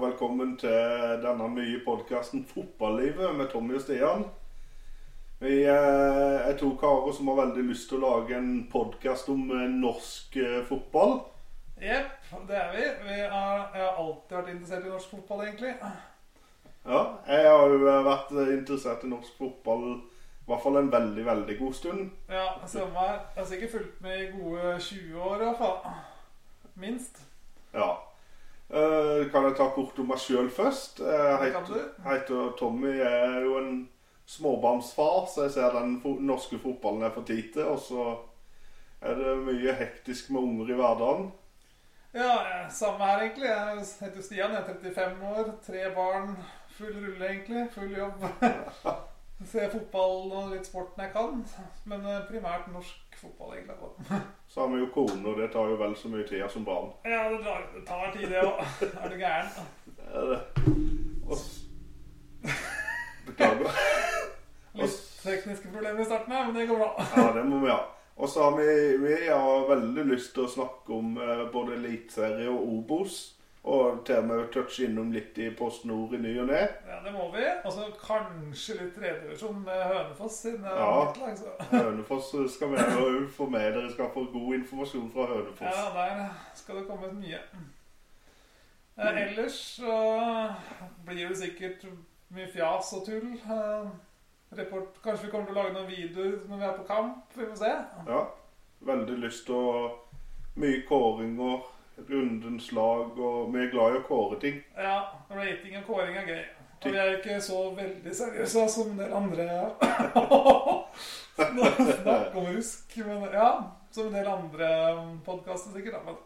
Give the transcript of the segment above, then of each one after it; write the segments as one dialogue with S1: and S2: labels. S1: velkommen til denne nye podkasten 'Fotballivet' med Tommy og Stian. Vi eh, er to karer som har veldig lyst til å lage en podkast om eh, norsk eh, fotball.
S2: Jepp, det er vi. vi har, jeg har alltid vært interessert i norsk fotball, egentlig.
S1: Ja, jeg har jo eh, vært eh, interessert i norsk fotball i hvert fall en veldig, veldig god stund.
S2: Ja, samme her. Jeg har sikkert fulgt med i gode 20 år, iallfall. Minst.
S1: Ja. Eh, Kan jeg ta kort om meg sjøl først? Eh, Jeg
S2: Det kan
S1: heter,
S2: du.
S1: heter Tommy. Jeg er jo en småbarnsfar, så jeg ser den fo norske fotballen er for tid til. Og så er det mye hektisk med unger i hverdagen.
S2: Ja, eh, samme her, egentlig. Jeg heter Stian, jeg er 35 år, tre barn, full rulle, egentlig. Full jobb. Ser fotball og litt sport når jeg kan, men eh, primært norsk fotball, egentlig.
S1: Så har vi jo kone, og det tar jo vel så mye tid som barn.
S2: Ja, det tar- det tar tid, det òg. Er du gæren?
S1: Er det? Og s- Beklager.
S2: Litt tekniske problemer i starten her, men det går bra.
S1: Ja, det må vi ha. Og så har vi, vi har veldig lyst til å snakke om eh, både Eliteserie og Obos. Og til og med touche innom litt i Post Nord i ny og ne.
S2: Ja, det må vi. Og så kanskje litt tredjevisjon med Hønefoss siden det er
S1: Ja.
S2: mitt lag. Så.
S1: Hønefoss skal vi jo få med. Dere skal få god informasjon fra
S2: Ja,
S1: Hønefoss.
S2: der skal det komme mye.
S1: Mm.
S2: Eh, ellers så blir det sikkert mye fjas og tull. Eh, report. Kanskje vi kommer til å lage noen videoer når vi er på kamp. Vi får se.
S1: Ja. Veldig lyst til å Mye kåringer, rundens lag og Vi er glad i å kåre ting.
S2: Ja, rating og kåring er gøy. Og vi er jo ikke så veldig seriøse som en del andre Snakk om rusk, men ja. Som en del andre podkaster sikkert. da, men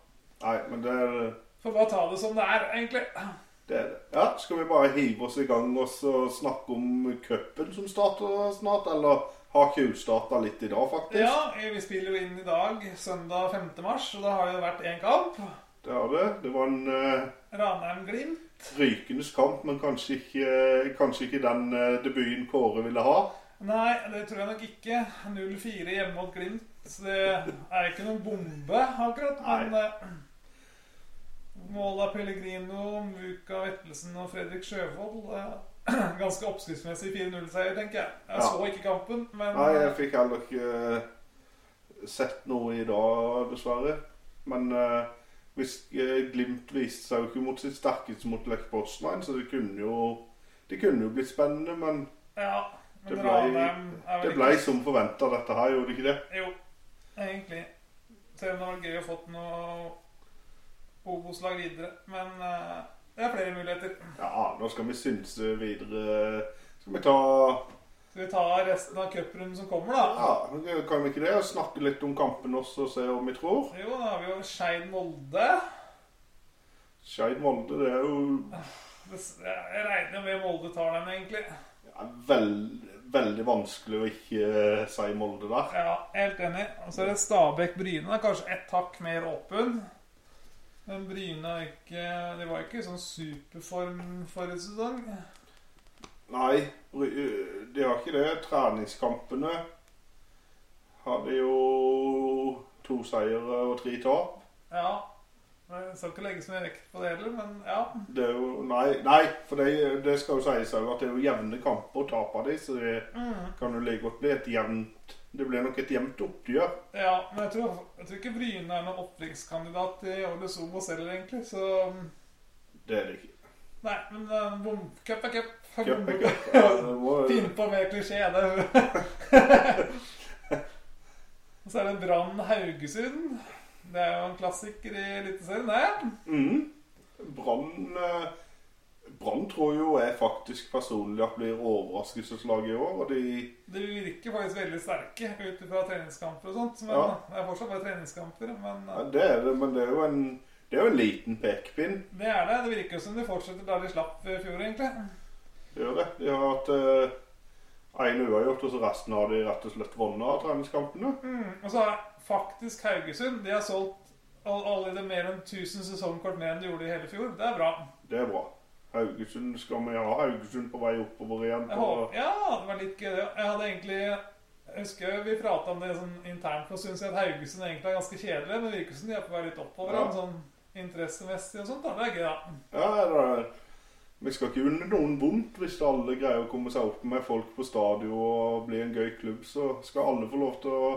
S1: Nei, men det er
S2: Får bare ta det som det er, egentlig.
S1: det. Er det. Ja, skal vi bare hive oss i gang og så snakke om cupen som starter snart? Eller har tjuvstarta litt i dag, faktisk?
S2: Ja, vi spiller jo inn i dag, søndag 5. mars, og da har det vært én kamp.
S1: Det har det. Det var en eh,
S2: Ranheim-Glimt.
S1: rykende kamp, men kanskje ikke, eh, kanskje ikke den eh, debuten Kåre ville ha.
S2: Nei, det tror jeg nok ikke. 0-4 hjemme mot Glimt. Så det er ikke noen bombe, akkurat. Men eh, mål av Pellegrino, Muka Vettelsen og Fredrik Sjøvold eh, Ganske oppskriftsmessig 4-0-seier, tenker jeg. Jeg
S1: Ja.
S2: så ikke kampen, men
S1: Nei, jeg fikk heller ikke eh, sett noe i dag, dessverre. Men eh, hvis eh, Glimt viste seg jo ikke mot sitt sterkeste mot Lech Poznan, så det kunne jo det kunne jo blitt spennende, men
S2: ja. Men
S1: Det ble-
S2: Ranheim er
S1: det
S2: vel
S1: ble
S2: ikke
S1: som forventa, dette her, gjorde det ikke det?
S2: Jo, egentlig. Selv om det var gøy å fått noe Obos-lag videre. Men eh, det er flere muligheter.
S1: Ja, nå skal vi synse videre. Skal vi ta
S2: Skal vi ta resten av cuprunden som kommer, da?
S1: Ja, kan vi ikke det? Og snakke litt om kampen også, og se om vi tror?
S2: Jo, da har vi jo Skeid Molde.
S1: Skeid Molde, det er jo
S2: Det s- Jeg regner jo med Molde tar den, egentlig.
S1: ja, veld, veldig vanskelig å ikke eh, si Molde der.
S2: Ja, helt enig. Og så er det Stabæk-Bryne. da. Kanskje ett hakk mer åpen. Men Bryne er ikke, de var ikke i sånn superform forrige sesong.
S1: Nei, Ry- de har ikke det. Treningskampene hadde jo to seire og tre tap.
S2: Ja. Jeg skal ikke legge så mye vekt på det heller, men ja.
S1: Det er jo Nei, nei for det, det skal jo sies òg at det er jo jevne kamper å tape de, så det
S2: Mm.
S1: kan jo like godt bli et jevnt Det blir nok et jevnt oppgjør.
S2: Ja, men jeg tror, jeg tror ikke Bryne er noen opprykkskandidat i årets Obos heller, egentlig. Så mm,
S1: Det er det ikke.
S2: Nei, men eh, bom, cup er cup.
S1: Cup er cup. Ja, det må-
S2: Finn på mer klisjé, det. Og så er det Brann Haugesund. Det er jo en klassiker i Eliteserien, det.
S1: Mhm. Brann eh, Brann tror jo jeg faktisk personlig at blir overraskelseslaget i år. Og de
S2: De virker faktisk veldig sterke ut fra treningskamper og sånt. Men
S1: Ja.
S2: det er fortsatt bare treningskamper. Men eh,
S1: ja, Det er det, men det er jo en, det er jo en liten pekepinn.
S2: det er det. Det virker jo som de fortsetter der de slapp i fjor, egentlig.
S1: Det gjør det. De har hatt én uavgjort, og så resten har de rett og slett vunnet av treningskampene.
S2: Mm, og så er faktisk Haugesund De har solgt all- allerede mer enn 1000 sesongkort mer enn de gjorde i hele fjor. Det er bra.
S1: Det er bra. Haugesund skal vi ha Haugesund på vei oppover igjen.
S2: Jeg
S1: På,
S2: håper, ja, det var litt gøy. det. Jeg hadde egentlig jeg husker vi prata om det sånn internt, og syns at Haugesund egentlig er ganske kjedelig. Men det virker som de er på vei litt oppover
S1: Ja.
S2: ja. sånn interessemessig og sånt. da. Det er gøy, da.
S1: ja, det er, Vi skal ikke unne noen vondt hvis alle greier å komme seg opp med folk på stadion og bli en gøy klubb, så skal alle få lov til å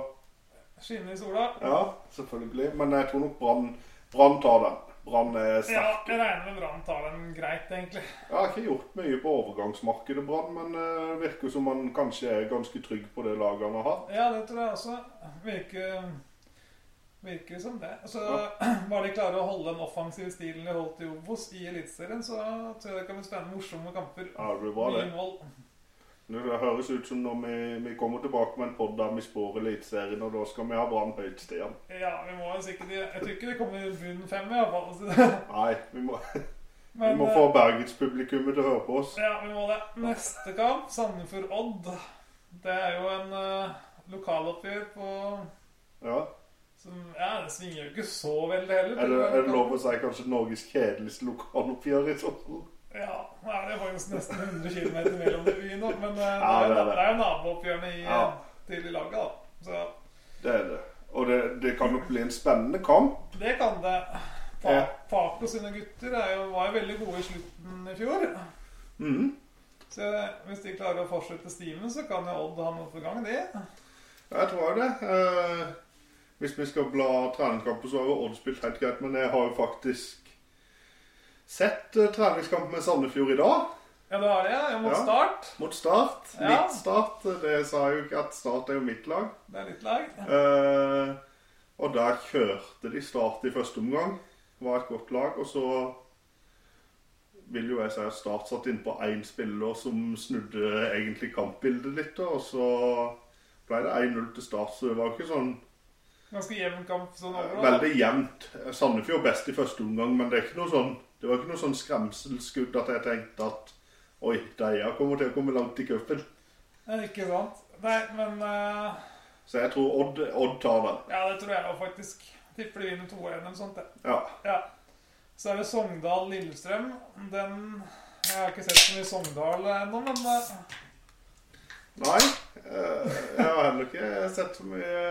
S2: Skinne i sola.
S1: Ja, selvfølgelig. Men jeg tror nok Brann Brann tar den. Brann er
S2: Ja,
S1: sterk.
S2: jeg regner med Brann tar den greit, egentlig.
S1: Jeg har ikke gjort mye på overgangsmarkedet, Brann, men eh, det virker som han kanskje er ganske trygg på det laget han har hatt.
S2: Ja, det tror jeg også. Virker, virker som det. Så bare de klarer å holde den offensive stilen de holdt i Obos i Eliteserien, så tror jeg det kan bli spennende morsomme kamper.
S1: Ja, det blir bra, det.
S2: Mye mål.
S1: Det høres ut som når vi, vi kommer tilbake med en podd der vi spår Eliteserien, og da skal vi ha Brann høyt, Stian.
S2: Ja, vi må jo sikkert Jeg tror ikke det kommer i bunnen fem, i hvert fall. så det-
S1: Nei, vi må, vi
S2: Men
S1: må få bergenspublikummet til å høre på oss.
S2: eh, ja, vi må det. Neste kamp, Sandefjord-Odd. Det er jo en eh, lokaloppgjør på
S1: Ja.
S2: som, Ja, det svinger jo ikke så veldig heller.
S1: Er det, er det lov å si kanskje Norges kjedeligste lokaloppgjør i sånn? fall?
S2: Ja, nå er det faktisk nesten 100 km mellom de byene, men eh,
S1: Ja,
S2: det, er,
S1: det
S2: jo-
S1: er det.
S2: det er jo nabooppgjørene i, eh,
S1: Ja.
S2: til i laget, da. Så
S1: Det er det. Og det, det kan nok bli en spennende kamp.
S2: det kan det.
S1: Ja.
S2: Pa- Paco sine gutter er jo, var jo veldig gode i slutten i fjor.
S1: Mhm.
S2: Så hvis de klarer å fortsette stimen, så kan jo Odd ha noe på gang, de.
S1: Jeg tror det. Eh, hvis vi skal bla treningskamper, så har jo Odd spilt helt greit. Men jeg har jo faktisk sett eh, treningskamp med Sandefjord i dag,
S2: Ja, det har de, ja. Mot
S1: Ja.
S2: Start.
S1: mot Start.
S2: Ja.
S1: Mitt Start. Det sa jeg jo ikke, at Start er jo mitt lag.
S2: Det er litt lag.
S1: Eh, og der kjørte de Start i første omgang. Var et godt lag. Og så vil jo jeg si at Start satt innpå én spiller som snudde egentlig kampbildet litt. Og så ble det 1-0 til Start, så det var jo ikke sånn eh,
S2: Ganske jevn kamp sånn overall.
S1: Veldig jevnt. Sandefjord best i første omgang, men det, er ikke noe sånn, det var ikke noe sånn skremselsskudd at jeg tenkte at Oi, Deia kommer til å komme langt i cupen.
S2: Ja, ikke sant. Nei, men eh,
S1: Så jeg tror Odd, Odd tar den.
S2: Ja, det tror jeg jo faktisk. Tipper de vinner 2-1 eller noe sånt, det.
S1: Ja.
S2: Ja. Så er det Sogndal-Lillestrøm. Den Jeg har ikke sett så mye Sogndal ennå, men eh,
S1: Nei, eh, jeg har heller ikke sett så mye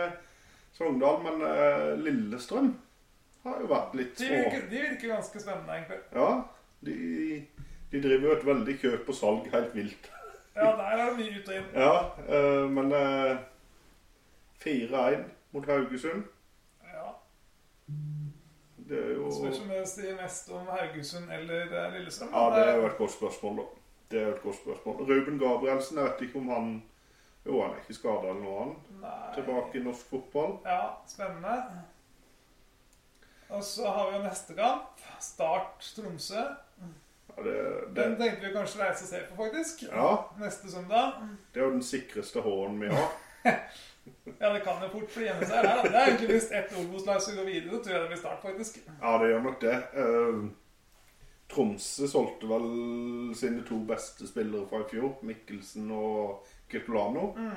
S1: Sogndal, men eh, Lillestrøm har jo vært litt
S2: de
S1: små.
S2: virker, de virker ganske spennende, egentlig.
S1: Ja, de, de driver jo et veldig kjøp og salg helt vilt.
S2: Ja, der er det mye ut og inn.
S1: Ja, eh, men eh, 4-1 mot Haugesund,
S2: Ja,
S1: det er jo
S2: det Spørs om det sier mest om Haugesund eller eh, Lillestrøm.
S1: Ja,
S2: men
S1: det er jo et godt spørsmål, da. Det er jo et godt spørsmål. Ruben Gabrielsen, jeg vet ikke om han Jo, han er ikke skada eller noe annet.
S2: Nei.
S1: Tilbake i norsk fotball.
S2: Ja, spennende. Og så har vi jo neste kamp. Start-Tromsø.
S1: Ja, det, det,
S2: Den tenkte vi kanskje reise og se på, faktisk.
S1: ja,
S2: Neste søndag.
S1: det er jo den sikreste H-en vi har.
S2: Ja, det kan jo fort bli hjemmeseier der. da. Det er egentlig hvis ett Obos-lag skal gå videre, så tror jeg det blir Start, faktisk.
S1: Ja, det gjør nok det. Eh, Tromsø solgte vel sine to beste spillere fra i fjor, Mikkelsen og Kirtolano. Ja,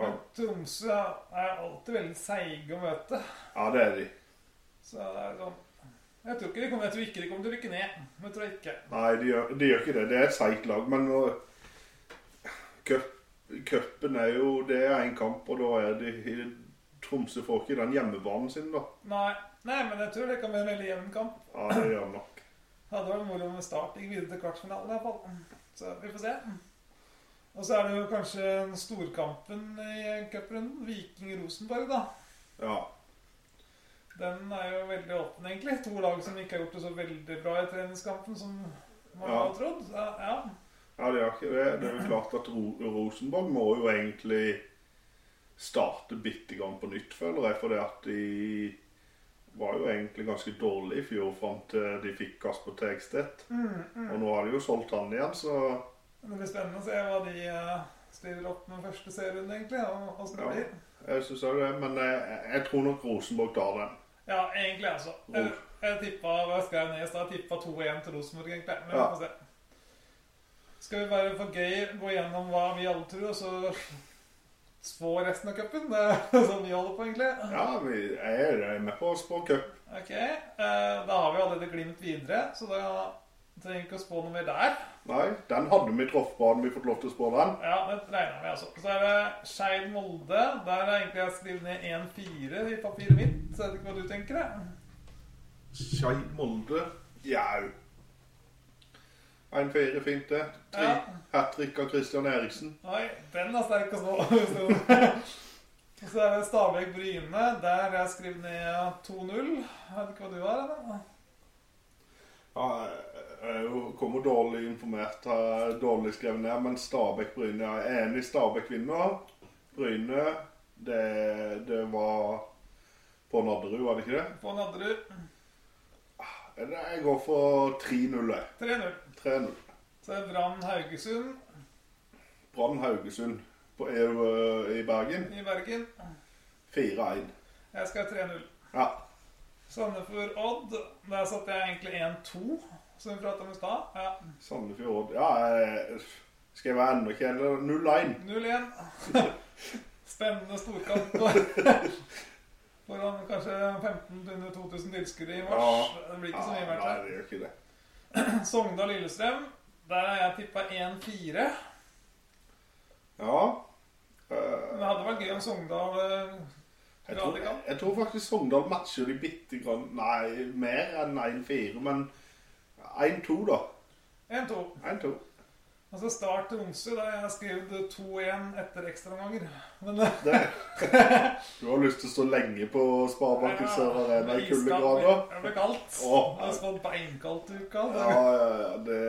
S2: Men Tromsø er alltid veldig seige å møte.
S1: ja, det er de.
S2: Så det er sånn Jeg tror ikke de kommer, jeg tror ikke de kommer til å rykke ned. Det tror jeg ikke.
S1: Nei, de gjør, de gjør ikke det. Det er et seigt lag, men nå cup- Cupen er jo Det er én kamp, og da er de Tromsø får ikke den hjemmebanen sin, da.
S2: Nei, nei men jeg tror det kan bli en veldig jevn kamp.
S1: Ja, det gjør de nok.
S2: Hadde vært moro med Start gikk videre til kvartfinalen, i hvert fall. Så vi får se. Og så er det jo kanskje storkampen i cuprunden. Viking-Rosenborg, da.
S1: Ja.
S2: Den er jo veldig åpen, egentlig. To lag som ikke har gjort det så veldig bra i treningskampen som man
S1: Ja.
S2: har trodd. Ja, ja.
S1: ja, de gjør ikke det. Det er jo klart at Ro Rosenborg må jo egentlig starte bitte grann på nytt, føler jeg. For det at de var jo egentlig ganske dårlige i fjor fram til de fikk Kasper Tegstedt.
S2: Mm, mm.
S1: Og nå har de jo solgt han igjen, så
S2: Men Det blir spennende å se hva de eh, stiller opp med første serien, egentlig. Og åssen det
S1: Ja.
S2: blir.
S1: jeg syns òg det. Men jeg, jeg tror nok Rosenborg tar den.
S2: Ja, egentlig, altså. Jeg, jeg tippa jeg skrev ned i stad, jeg tippa 2-1 til Rosenborg, egentlig. Men vi
S1: Ja.
S2: får se. Skal vi bare for gøy gå gjennom hva vi alle tror, og så spå resten av cupen? Det er sånn vi holder på, egentlig.
S1: Ja, vi jeg er med på å spå cup.
S2: Ok, eh, Da har vi allerede Glimt videre, så da trenger vi ikke å spå noe mer der.
S1: Nei, den hadde vi truffet på, hadde vi fått lov til å spå den.
S2: Ja, det regner vi, altså. Så er det Skeid-Molde. Der har egentlig jeg skrevet ned 1-4 i papiret mitt. Så jeg vet ikke hva du tenker, jeg.
S1: Skeid Molde. Jau. 1-4, fint det.
S2: Ja.
S1: Hat trick av Christian Eriksen.
S2: Nei, den er sterk å stå. Og så er det Stabæk Bryne. Der har jeg skrevet ned 2-0. Jeg vet ikke hva du har? Eller?
S1: Ja, jeg er jo- kommer dårlig informert, har dårlig skrevet ned, men Stabæk-Bryne Jeg er enig Stabæk vinner. Bryne, det, det var på Nadderud, var det ikke det?
S2: På Nadderud
S1: Eller jeg går for 3-0. jeg.
S2: 3-0.
S1: 3-0.
S2: Så er det Brann Haugesund
S1: Brann Haugesund på EU i Bergen.
S2: i Bergen.
S1: 4-1.
S2: Jeg skal ha 3-0.
S1: Ja.
S2: Sandefjord Odd. Der satte jeg egentlig 1-2, som vi prata om i stad. Ja.
S1: Sandefjord Ja, jeg- skal jeg være enda kjedeligere? 0-1.
S2: 0-1. Spennende storkamp. Foran kanskje 1500-2000 tilskuere i mars. Det blir ikke så mye
S1: Ja,
S2: verdt, det.
S1: Nei, det gjør ikke det.
S2: Sogndal-Lillestrøm. Der har jeg tippa 1-4.
S1: Ja.
S2: Men
S1: eh,
S2: det hadde vært gøy om Sogndal eh,
S1: Jeg tror,
S2: Radikal.
S1: jeg tror faktisk Sogndal matcher de bitte grann Nei, mer enn 1-4, men 1-2, da.
S2: 1-2.
S1: 1-2.
S2: Og så Altså, Start Tromsø. Der har jeg skrevet 2-1 etter ekstraomganger. Men eh,
S1: Det. Du har lyst til å stå lenge på Sparebanken
S2: ja,
S1: Sør Arena i
S2: det er iskaldt.
S1: kuldegrader?
S2: Det blir kaldt.
S1: Å.
S2: Jeg har spådd beinkaldt i uka.
S1: Ja, ja, ja, det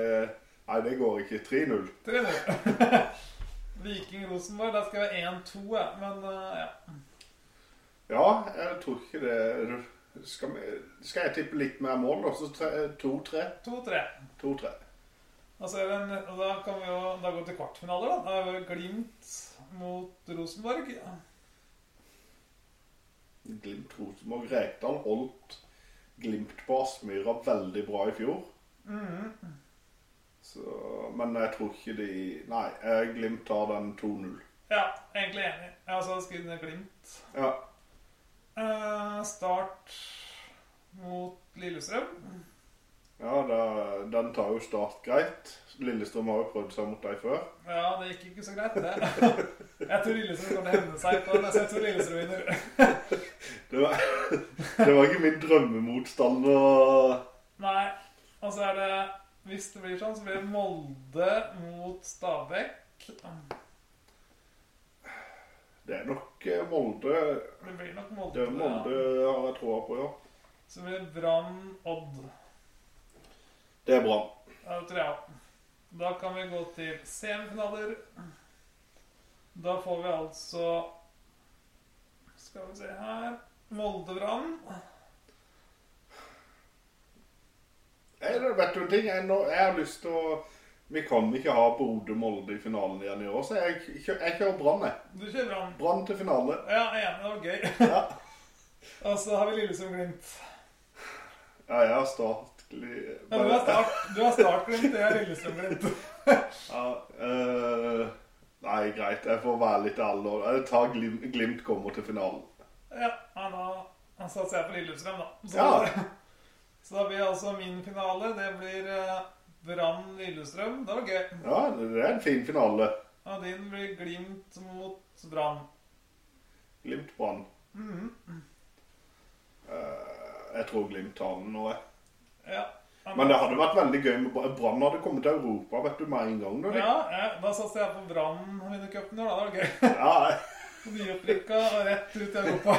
S1: Nei, det går ikke. 3-0.
S2: 3-0. Viking Rosenborg, der skal jeg ha 1-2, jeg. Men eh, ja.
S1: Ja, jeg tror ikke det Skal, vi, skal jeg tippe litt mer mål, da? Så tre- 2-3.
S2: 2-3.
S1: 2-3.
S2: Og så er det en, og da kan vi jo da gå til kvartfinaler, da. Da er det Glimt mot Rosenborg.
S1: Glimt Rosenborg Rekdal holdt Glimt på Aspmyra veldig bra i fjor. Mm.
S2: Mhm.
S1: Så, men jeg tror ikke de Nei, eh, Glimt tar den 2-0.
S2: Ja, egentlig enig. Jeg har også skrevet ned Glimt.
S1: Ja.
S2: Eh, start mot Lillestrøm.
S1: ja da, den tar jo Start greit. Lillestrøm har jo prøvd seg mot dem før.
S2: Ja, det gikk ikke så greit, det. Jeg tror Lillestrøm kommer til å hevne seg på det, så jeg tror Lillestrøm vinner.
S1: Det var, det var ikke min drømmemotstander.
S2: Nei. Og så er det Hvis det blir sånn, så blir det Molde mot Stabæk.
S1: Det er nok eh, Molde.
S2: Det blir nok
S1: Det
S2: Molde.
S1: er
S2: på
S1: Molde
S2: det,
S1: har jeg troa på, ja.
S2: ja. Så blir det Brann Odd.
S1: Det er bra.
S2: Ja, det tror jeg også. Da kan vi gå til semifinaler. Da får vi altså Skal vi se her Molde-Brann.
S1: Jeg, vet du en ting? Jeg, nå, jeg har lyst til å Vi kan ikke ha Bodø-Molde i finalen igjen i år, så jeg, kjø- jeg kjører Brann, jeg.
S2: Du kjører Brann.
S1: Brann til finale.
S2: Ja, jeg er enig. Det var gøy.
S1: Ja.
S2: Og så har vi Lillesund-Glimt.
S1: Ja, jeg har Start gli-
S2: Ja, du har start, du har Start-Glimt, jeg har Lillesund-Glimt.
S1: Ja, eh, nei, greit. Jeg får være litt ærlig. nå. Jeg tar Glimt, Glimt kommer til finalen.
S2: Ja, ja, da da satser jeg på Lillestrøm, da. Så,
S1: Ja.
S2: så da blir altså min finale. Det blir eh, Brann-Lillestrøm. Det var gøy.
S1: Ja, det er en fin finale.
S2: Og din blir Glimt mot Brann.
S1: Glimt-Brann. Eh, jeg tror Glimt tar den nå, jeg.
S2: Ja. ja,
S1: Men det hadde vært veldig gøy med Brann. Brann hadde kommet til Europa vet du, med en gang. liksom. nå, de.
S2: Ja, ja, da satser jeg på Brann vinner cupen i år. da. Det var gøy.
S1: Ja,
S2: Nyopprykka og rett ut i Europa.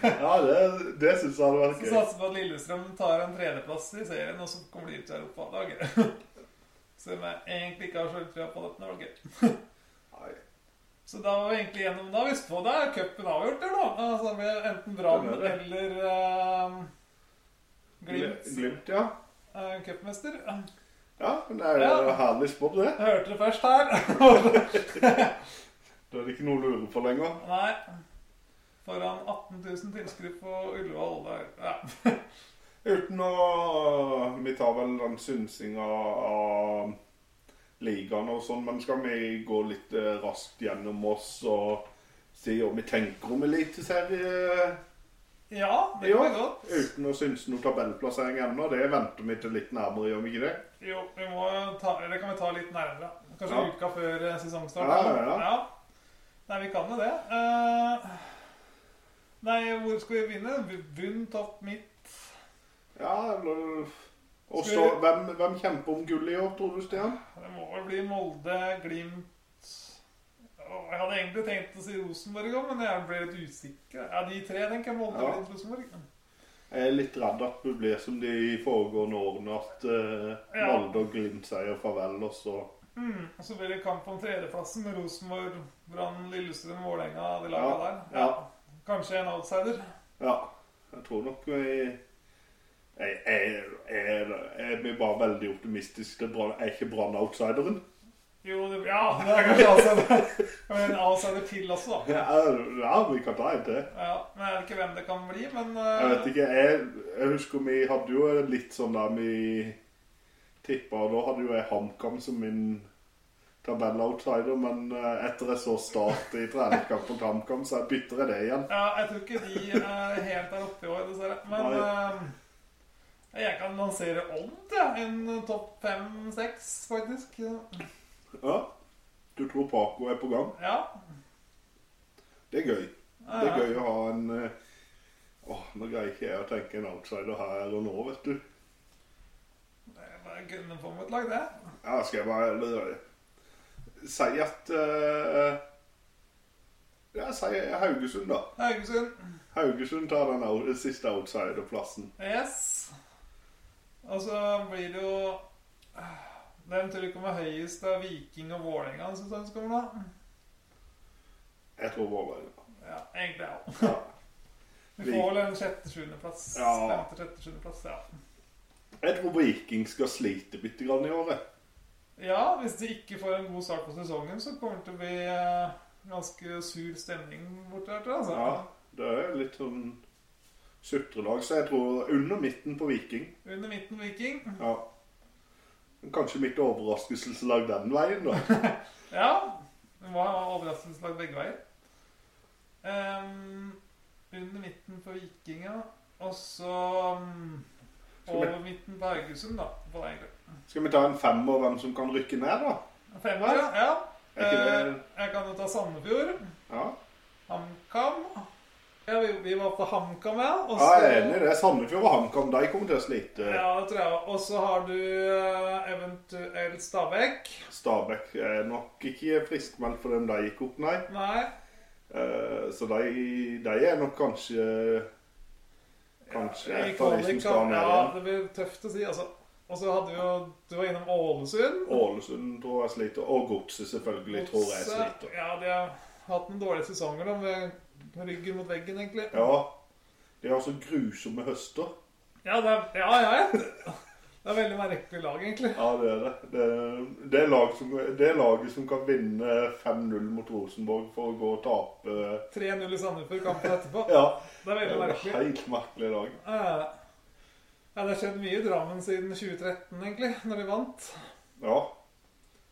S1: ja det, det syns jeg hadde vært
S2: Så
S1: gøy.
S2: satser på at Lillestrøm tar en tredjeplass i serien, og så kommer de ut i Europa. Det var gøy. Selv om jeg egentlig ikke har sjøltrua på dette. men Det var gøy.
S1: Nei,
S2: Så da var vi egentlig gjennom da. Visst på, da er cupen avgjort, eller noe? Altså, det blir enten Brann
S1: Det er det.
S2: eller eh, Glimt
S1: Glimt, ja.
S2: uh, cupmester.
S1: Ja, men det er jo
S2: Ja.
S1: herlig sport, det.
S2: Jeg hørte det først her.
S1: Da er det ikke noe å lure på lenger.
S2: Nei. Foran 18 000 tilskuere på Ullevål. der. Ja.
S1: Uten å eh, Vi tar vel den synsinga av ligaen og sånn, men skal vi gå litt eh, raskt gjennom oss og si hva vi tenker om Eliteserie
S2: Ja, det
S1: i
S2: kan vi
S1: år?
S2: godt.
S1: Uten å synse noe tabellplassering ennå. Det venter vi til litt nærmere, gjør vi ikke det?
S2: Jo, vi må jo ta, det kan vi ta litt nærmere. Kanskje
S1: Ja.
S2: uka før eh, sesongstart.
S1: Ja,
S2: da.
S1: ja, ja.
S2: Nei, vi kan jo det. Eh, nei, hvor skal vi begynne? Bunn, topp, midt.
S1: Ja, eller Og
S2: Skal
S1: så,
S2: vi-
S1: hvem, hvem kjemper om gull i år, tror du, Stian?
S2: Det må vel bli Molde, Glimt Åh, Jeg hadde egentlig tenkt å si Rosenborg òg, men jeg ble litt usikker. Ja, de tre, tenker jeg. Molde,
S1: Ja.
S2: Glimt, Rosenborg.
S1: Jeg er litt redd at det blir som de foregående årene, at eh,
S2: Ja.
S1: Molde og Glimt sier farvel, og så
S2: Mm. Og så blir det kamp om tredjeplassen med Rosenborg, Brann, Lillestrøm, Vålerenga, de laga
S1: Ja.
S2: der.
S1: Ja.
S2: Kanskje en outsider.
S1: Ja. Jeg tror nok vi jeg, jeg, jeg, jeg blir bare veldig optimistisk. Det er, bra, jeg er ikke Brann-outsideren.
S2: Jo, det, ja, det er kanskje outsider. Men en outsider til også, da.
S1: Ja, ja, vi kan ta en til.
S2: Ja, men Jeg vet ikke hvem det kan bli, men eh,
S1: Jeg vet ikke. Jeg, jeg husker vi hadde jo litt sånn der vi tippa Da hadde jo jeg HamKam som min tabell-outsider, men eh, etter jeg så Start i treningskamp mot HamKam, så jeg bytter jeg det igjen.
S2: Ja, jeg tror ikke de er helt der oppe i år, dessverre. Men eh, jeg kan lansere Odd, jeg. En topp fem-seks, faktisk.
S1: Ja. Du tror Paco er på gang?
S2: Ja.
S1: Det er gøy.
S2: ja,
S1: Det
S2: ja.
S1: er gøy å ha en eh, Åh, nå greier ikke jeg å tenke en outsider her og nå, vet du.
S2: Det er bare å gunne på med et lag, det.
S1: Ja, skal jeg bare eller, Si at eh, Ja, si Haugesund, da.
S2: Haugesund.
S1: Haugesund tar den out, siste outsiderplassen.
S2: Yes. Og så blir det jo eh, Hvem tror du kommer høyest av Viking og Vålerenga? synes jeg det kommer da?
S1: Jeg tror Vålerenga.
S2: Ja, egentlig ja.
S1: Ja.
S2: Vi får vel en sjette-sjuendeplass.
S1: Ja.
S2: Femte-sjette-sjuendeplass, ja.
S1: Jeg tror Viking skal slite bitte grann i året.
S2: Ja, hvis de ikke får en god start på sesongen, så kommer det til å bli eh, ganske sur stemning borte der. tror jeg, Altså.
S1: Ja, det er litt sånn sutrelag, så jeg tror under midten på Viking.
S2: Under midten Viking.
S1: Ja. Kanskje mitt overraskelseslag den veien, da.
S2: Ja. Det var overraskelseslag begge veier. Ehm, under midten på Viking, ja. Og så mm,
S1: Skal vi-
S2: over midten på Haugesund, da. På deg,
S1: Skal vi ta en femmer hvem som kan rykke ned, da?
S2: Femmer, ja. ja.
S1: Er ikke
S2: Eh,
S1: det
S2: jeg kan jo ta Sandefjord.
S1: Ja,
S2: HamKam. Ja, vi, vi var på HamKam, ja. Og
S1: ja jeg er enig i det. Sandefjord og HamKam, de kommer til å slite.
S2: altså- Ja, det tror jeg. Og så har du eh, eventuelt Stabæk.
S1: Stabæk er nok ikke friskmeldt for dem de gikk opp, nei.
S2: Nei.
S1: Eh, Så de, de er nok kanskje Kanskje et av de som skal
S2: Kvalik-
S1: ned
S2: ja,
S1: igjen.
S2: det blir tøft å si, altså. Og så hadde vi jo Du var innom Ålesund.
S1: Ålesund tror jeg sliter. Og Godset selvfølgelig tror jeg
S2: Godse.
S1: sliter.
S2: Ja, de har hatt noen dårlige sesonger, da, med ryggen mot veggen, egentlig.
S1: Ja. De har så grusomme høster.
S2: Ja, det er, ja, ja, jeg vet det. Det er veldig merkelig lag, egentlig.
S1: Ja, det er det. Det, det, er, lag som, det er laget som kan vinne 5-0 mot Rosenborg for å gå og tape
S2: 3-0 i Sandefjord kampen etterpå.
S1: Ja.
S2: Det er
S1: Det
S2: veldig
S1: er et
S2: merkelig.
S1: helt merkelig lag.
S2: Eh, Ja, det har skjedd mye i Drammen siden 2013, egentlig, når de vant.
S1: Ja.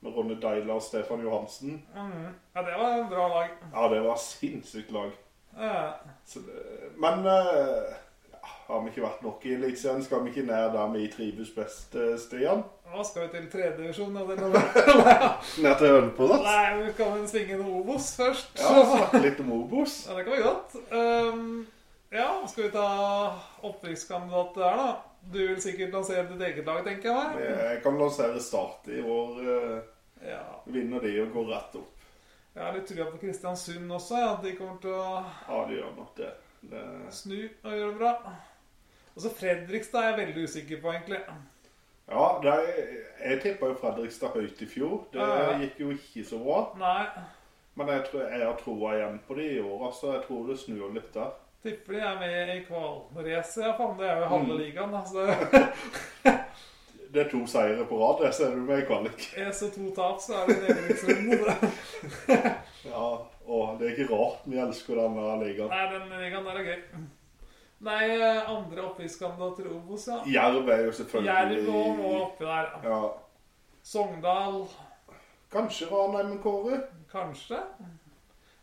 S1: Med Ronny Deila og Stefan Johansen.
S2: Mm. Ja, det var en bra lag.
S1: Ja, det var sinnssykt lag.
S2: Eh,
S1: Så det, men eh, ja, har vi ikke vært nok i Eliteserien? Skal vi ikke ned der vi trives best, eh, Stian?
S2: Nå skal vi til tredje divisjon. da, eller noe.
S1: Ned til Ørnepodat?
S2: Nei, vi kan vel svinge en Obos først.
S1: Ja, altså. snakke litt om Obos.
S2: Ja, det kan vi godt. Ehm, ja, skal vi ta opprykkskandidat der, da? Du vil sikkert lansere ditt eget lag, tenker jeg meg.
S1: Jeg kan lansere Start i år. eh,
S2: Ja.
S1: Vinner de og går rett opp.
S2: Jeg har litt trua på Kristiansund også, ja, at de kommer til å
S1: Ja, de gjør nok det. det
S2: snu og gjøre det bra. Og så Fredrikstad er jeg veldig usikker på, egentlig.
S1: ja, de, jeg tippa jo Fredrikstad høyt i fjor. Det
S2: Ja.
S1: gikk jo ikke så bra.
S2: Nei,
S1: Men jeg, tror, jeg har troa igjen på de i år. altså. Jeg tror det snur litt der.
S2: tipper de er med i kvalracet. Ja, faen, det er jo halve
S1: Mm.
S2: ligaen, da. Så det
S1: Det er to seire på rad, det ser du med i kvalik.
S2: er så to tap, så er det liksom. nedrykksrunde.
S1: Ja, og det er ikke rart vi elsker denne ligaen.
S2: Nei, den ligaen der er gøy. Nei, eh, andre opprykkskandidater i Obos, ja.
S1: Jerv er jo selvfølgelig
S2: Jerv og må oppi der. ja.
S1: Ja.
S2: Sogndal,
S1: Kanskje Ranheim og Kåre?
S2: kanskje?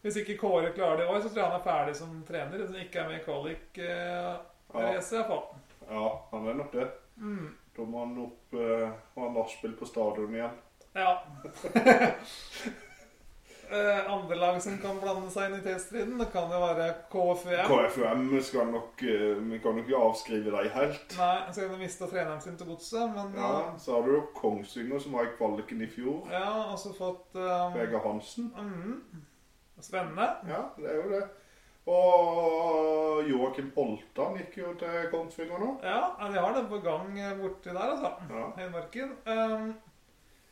S2: Hvis ikke Kåre klarer det i år, så tror jeg han er ferdig som trener. Hvis han ikke er med i
S1: Ja.
S2: kvalik-racet, iallfall.
S1: Ja, han er nok det.
S2: Mm.
S1: Da må han opp eh, og ha nachspiel på stadion igjen.
S2: Ja. eh, andre lag som kan blande seg inn i teststriden. Det kan jo være KFUM.
S1: KFUM skal nok eh, Vi kan nok ikke avskrive dem helt.
S2: Nei, altså, så kan de miste treneren sin til godset, men
S1: Ja,
S2: eh,
S1: Så har du jo Kongsvinger, som var i kvaliken i fjor.
S2: ja, også fått eh,
S1: Vegard Hansen.
S2: mhm. Spennende.
S1: Ja, det er jo det. Og Joakim Holtan gikk jo til Kongsvinger nå.
S2: Ja, ja, de har det på gang eh, borti der, altså.
S1: Ja.
S2: Hedmarken. Ehm,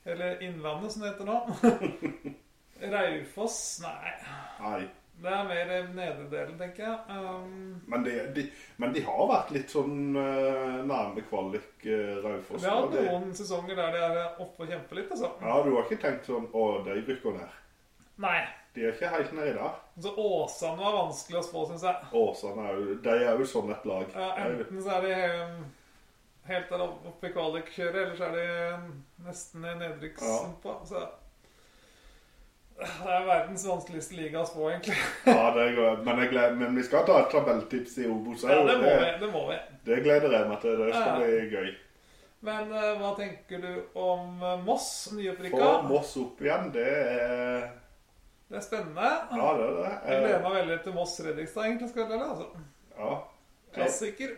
S2: eller Innlandet, som det heter nå. Raufoss Nei.
S1: Nei.
S2: Det er mer eh, nederdelen, tenker jeg. Ehm,
S1: Men, det, de, men de har vært litt sånn eh, nærme kvalik uh, Raufoss.
S2: vi har
S1: da.
S2: hatt
S1: Det-
S2: noen sesonger der de er eh, oppe og kjemper litt, altså.
S1: Ja, du har ikke tenkt sånn Å, de rykker ned.
S2: Nei.
S1: De er ikke helt nede der.
S2: Så Åsane var vanskelig å spå, syns jeg.
S1: Åsane er jo De er jo sånn et lag.
S2: Ja, enten så er de ehm, helt der oppe i kvalikkjøret, eller så er de ehm, nesten i nedrykkssumpa. Så det er verdens vanskeligste liga å spå, egentlig.
S1: ja, det går, men, jeg gleder, men vi skal ta et tabelltips i Obos.
S2: Ja,
S1: og
S2: det må vi. det må vi.
S1: det gleder jeg meg til. Det skal
S2: Ja.
S1: bli gøy.
S2: Men eh, hva tenker du om eh, Moss, nyopprykka?
S1: Få Moss opp igjen, det er
S2: Det er spennende.
S1: Ja, det er det.
S2: Jeg gleder
S1: Eh,
S2: meg veldig til Moss Redrikstad, egentlig. skal jeg være ærlig, altså.
S1: Ja. Jeg,
S2: Klassiker.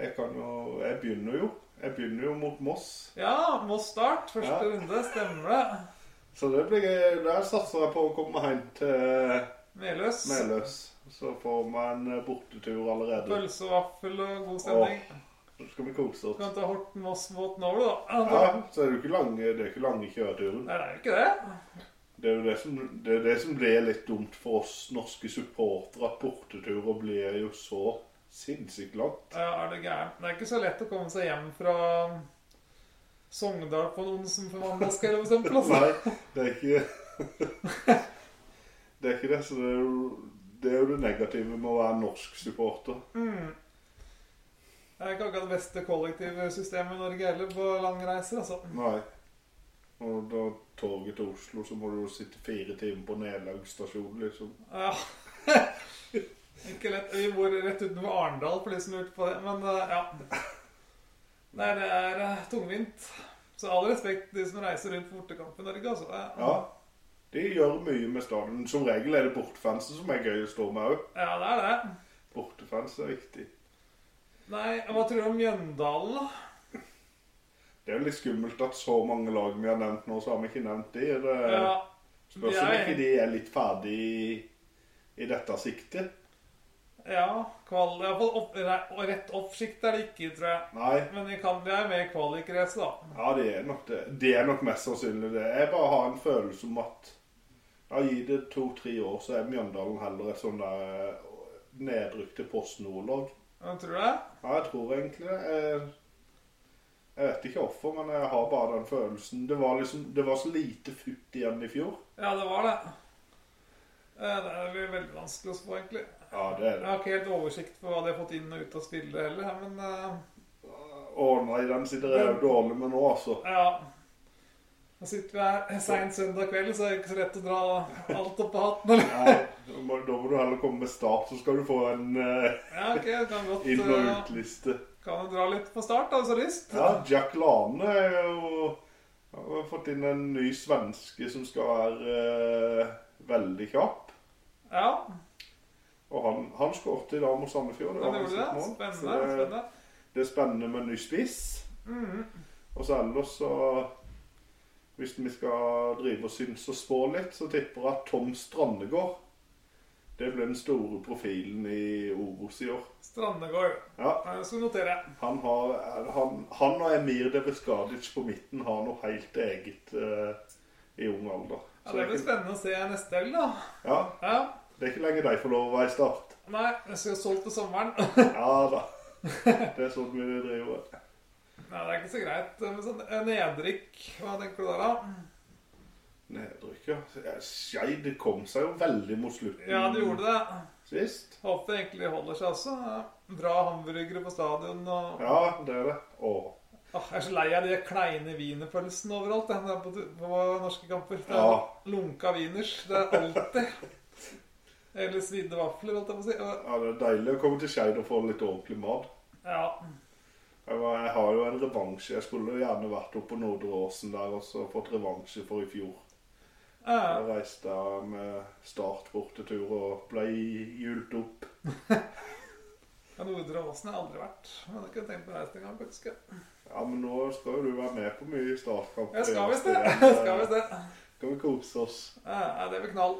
S1: jeg kan jo Jeg begynner jo. Jeg begynner jo mot Moss.
S2: Ja, Moss start. Første
S1: Ja.
S2: runde. Stemmer det.
S1: Så det blir gøy. Der satser jeg på å komme hjem til
S2: Meløs.
S1: Meløs. Så får vi en eh, bortetur allerede.
S2: Pølse og vaffel og god stemning.
S1: Så skal vi kose
S2: Du
S1: oss.
S2: kan ta Horten-Moss-båten over, du, da.
S1: Ja, så er det jo ikke lange, det er ikke lange kjøreturen.
S2: Nei, det er jo ikke det.
S1: Det er jo det som, det er det som blir litt dumt for oss norske supportere, at borteturer blir jo så sinnssykt langt.
S2: Ja, er du gæren. Det er ikke så lett å komme seg hjem fra Sogndal på en onsdag-mandagskveld, for eksempel. Altså.
S1: Nei, det er ikke Det er ikke det, så det er jo det, er jo det negative med å være norsk supporter.
S2: Mm. Det er ikke akkurat det beste kollektivsystemet i Norge heller på langreiser, altså.
S1: Nei. Og da toget til Oslo, så må du jo sitte fire timer på nedlagsstasjonen, liksom.
S2: Ja. ikke lett. Vi bor rett utenfor Arendal, for de som lurte på det. Men eh, ja. Nei, det er eh, tungvint. Så all respekt til de som reiser rundt for bortekamp i Norge, altså. Det-
S1: Ja. De gjør mye med stadion. Som regel er det bortefansen som er gøy å stå med òg.
S2: ja, det er det.
S1: Bortefans er viktig.
S2: Nei, hva tror du om Mjøndalen, da?
S1: Det er jo litt skummelt at så mange lag vi har nevnt nå, så har vi ikke nevnt de. Det
S2: Ja,
S1: spørs om
S2: jeg-
S1: ikke de er litt ferdig i, i dette siktet.
S2: ja kval... Iallfall opp, re- og rett oppsikt er det ikke, tror jeg.
S1: Nei.
S2: Men de kan bli med i kvalikrace, da.
S1: Ja, det er nok det. Det er nok mest sannsynlig det. Jeg bare har en følelse om at ja, gi det to-tre år, så er Mjøndalen heller et sånn der eh, nedrykk til Post Nord-lag.
S2: Men tror du det?
S1: Ja, jeg tror egentlig det. Jeg, jeg vet ikke hvorfor, men jeg har bare den følelsen. Det var liksom, det var så lite futt igjen i fjor.
S2: Ja, det var det. Eh, Det blir veldig vanskelig å spå, egentlig.
S1: Ja, det er
S2: Jeg
S1: det.
S2: har ikke helt oversikt på hva de har fått inn og ut av spillet heller, her, men eh,
S1: Å nei, den sitter jeg jo dårlig med nå, altså.
S2: ja. Nå sitter vi her seint søndag kveld, så er det ikke så lett å dra alt opp på hatten. Eller?
S1: Nei, da må da må du heller komme med start, så skal du få en eh,
S2: Ja, ok, jeg kan godt
S1: inn- og
S2: eh,
S1: utliste.
S2: Kan jo dra litt på start, da, hvis du har lyst.
S1: Ja, Jack Lane er jo har fått inn en ny svenske som skal være eh, veldig kjapp.
S2: Ja,
S1: Og han, han skåret i dag mot Sandefjord.
S2: da
S1: var
S2: gjorde du det.
S1: hans mål.
S2: Spennende.
S1: Så det,
S2: spennende.
S1: det er spennende med en ny spiss.
S2: Mhm.
S1: Og så ellers så Hvis vi skal drive og synse og spå litt, så tipper jeg at Tom Strandegård Det blir den store profilen i Obos i år.
S2: Strandegård.
S1: Ja,
S2: Ja, Jeg skal notere.
S1: han, har, han, han og Emir Deveskadic på midten har noe helt eget eh, i ung alder.
S2: Ja, det blir
S1: ikke,
S2: spennende å se neste helg, da.
S1: ja,
S2: Ja.
S1: det er ikke lenge de får lov å være i start.
S2: Nei, jeg skal solgt til sommeren.
S1: Ja da. Det er sånn vi driver.
S2: Nei, det er ikke så greit. Men sånn eh, nedrykk, hva tenker du der, da?
S1: Nedrykk, ja. Skei, det kom seg jo veldig mot slutten
S2: Ja, du gjorde det.
S1: sist.
S2: Håper egentlig de holder seg også. Bra hamburgere på stadion og
S1: Ja, det er det. Å,
S2: Åh, Jeg er så lei av de kleine wienerpølsene overalt. jeg, når jeg er på, tu- på norske kamper. Det er
S1: Ja.
S2: Lunka wieners. Det er alltid. Eller svidde vafler, holdt jeg på å si. Og-
S1: ja, det er deilig å komme til Skeid og få litt ordentlig mat.
S2: Ja.
S1: Jeg var- jeg har jo en revansje. Jeg skulle jo gjerne vært oppe på Nordre Åsen der og så fått revansje for i fjor.
S2: Ja,
S1: Jeg reiste med Start bortetur og ble hjult opp.
S2: ja, Nordre Åsen har jeg aldri vært. Men jeg har ikke tenkt på å reise engang, faktisk.
S1: Ja, men nå skal jo du være med på mye startkamp.
S2: Jeg skal visst det.
S1: Ja,
S2: Jeg skal visst det.
S1: Skal vi kose oss?
S2: Ja, Eh, ja, det blir knall.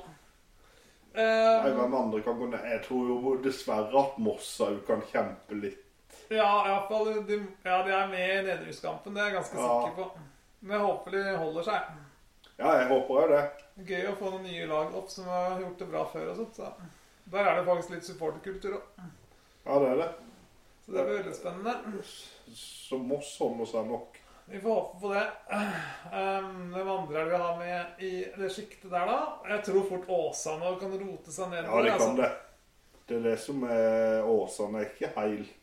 S1: Nei,
S2: Eh,
S1: hvem andre kan gå ned? Jeg tror jo dessverre at Moss òg kan kjempe litt.
S2: ja, i hvert fall, de, ja, de er med i nedrykkskampen, det er jeg ganske
S1: Ja.
S2: sikker på. Men jeg håper de holder seg.
S1: Ja, jeg håper jo det.
S2: Gøy å få noen nye lag opp som har gjort det bra før og sånt. Så der er det faktisk litt supporterkultur òg.
S1: Ja, det er det.
S2: Så det blir veldig spennende.
S1: Så Moss holder seg nok.
S2: Vi får håpe på det. Um, hvem andre er det vi har med i det sjiktet der, da? Jeg tror fort Åsane kan rote seg
S1: Ja,
S2: nedover.
S1: de
S2: altså.
S1: kan det. Det er det som er Åsane er ikke helt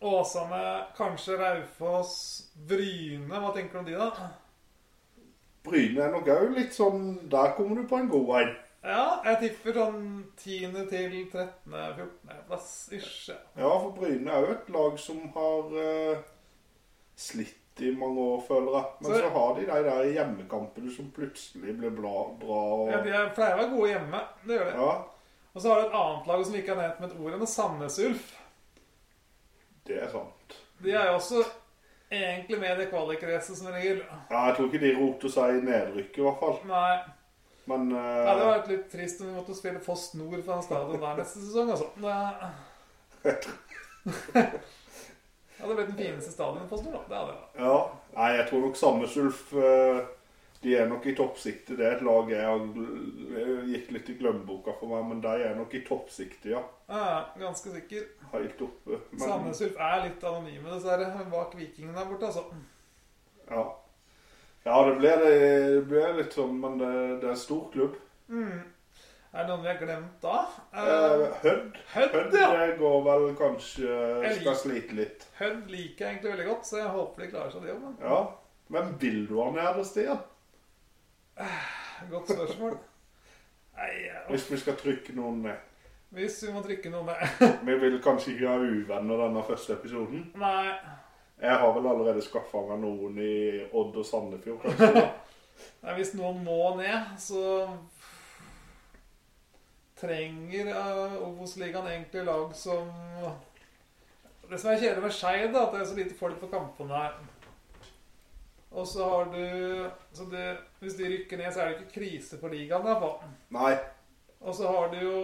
S2: Åsane, kanskje Raufoss, Bryne. Hva tenker du om de, da?
S1: Bryne er nok òg litt sånn Der kommer du på en god vei.
S2: Ja, jeg tipper sånn 10. til 13. 14. plass ish.
S1: Ja, for Bryne er jo et lag som har eh, slitt i mange år, føler jeg. Men
S2: Så-
S1: så, har de de der hjemmekampene som plutselig blir bla, bra. Og,
S2: Ja, de er- pleier å være gode hjemme. Det gjør de.
S1: ja,
S2: Og så har du et annet lag som vi ikke har nevnt med et ord ennå, Sandnes Ulf.
S1: det er sant.
S2: De er jo også egentlig med i det kvalikracet som regel.
S1: Ja, jeg tror ikke de roter seg i nedrykket, i hvert fall.
S2: Nei.
S1: Men
S2: Det hadde
S1: eh,
S2: vært litt trist om vi måtte spille Foss Nord fra den stadion der neste sesong, altså. Det Det hadde blitt den fineste stadion i Foss Nord, da. Det hadde det.
S1: ja. Nei, jeg tror nok Sandnes Ulf eh, De er nok i toppsiktet. Det er et lag jeg har gl- gikk litt i glemmeboka for meg, men de er nok i toppsiktet, ja.
S2: Ja, ganske sikker.
S1: Helt oppe. Men,
S2: Sandnes Ulf er litt anonyme, dessverre. Men bak Vikingen der borte, altså.
S1: Ja. ja, det blir, det blir litt sånn, men det, det er en stor klubb.
S2: Mm. Er det noen vi har glemt da?
S1: Eh,
S2: Eh,
S1: Hødd.
S2: Hødd,
S1: Hødd
S2: ja.
S1: det går vel kanskje
S2: Jeg
S1: Skal
S2: liker-
S1: slite litt.
S2: Hødd liker jeg egentlig veldig godt, så jeg håper de klarer seg, de òg.
S1: Ja. Hvem vil du ha nede, Stian?
S2: Godt spørsmål. Nei, ja.
S1: Hvis vi skal trykke noen ned.
S2: Hvis vi må trykke noe med
S1: Vi vil kanskje ikke ha uvenner denne første episoden.
S2: Nei.
S1: Jeg har vel allerede skaffa meg noen i Odd og Sandefjord, kanskje. da.
S2: Nei, hvis noen må ned, så trenger uh, Obos-ligaen egentlig lag som Det som er kjedelig med Skeid, da, at det er så lite folk på kampene her. Og så har du så det, Hvis de rykker ned, så er det ikke krise for ligaen. i hvert fall.
S1: Nei.
S2: Og så har du jo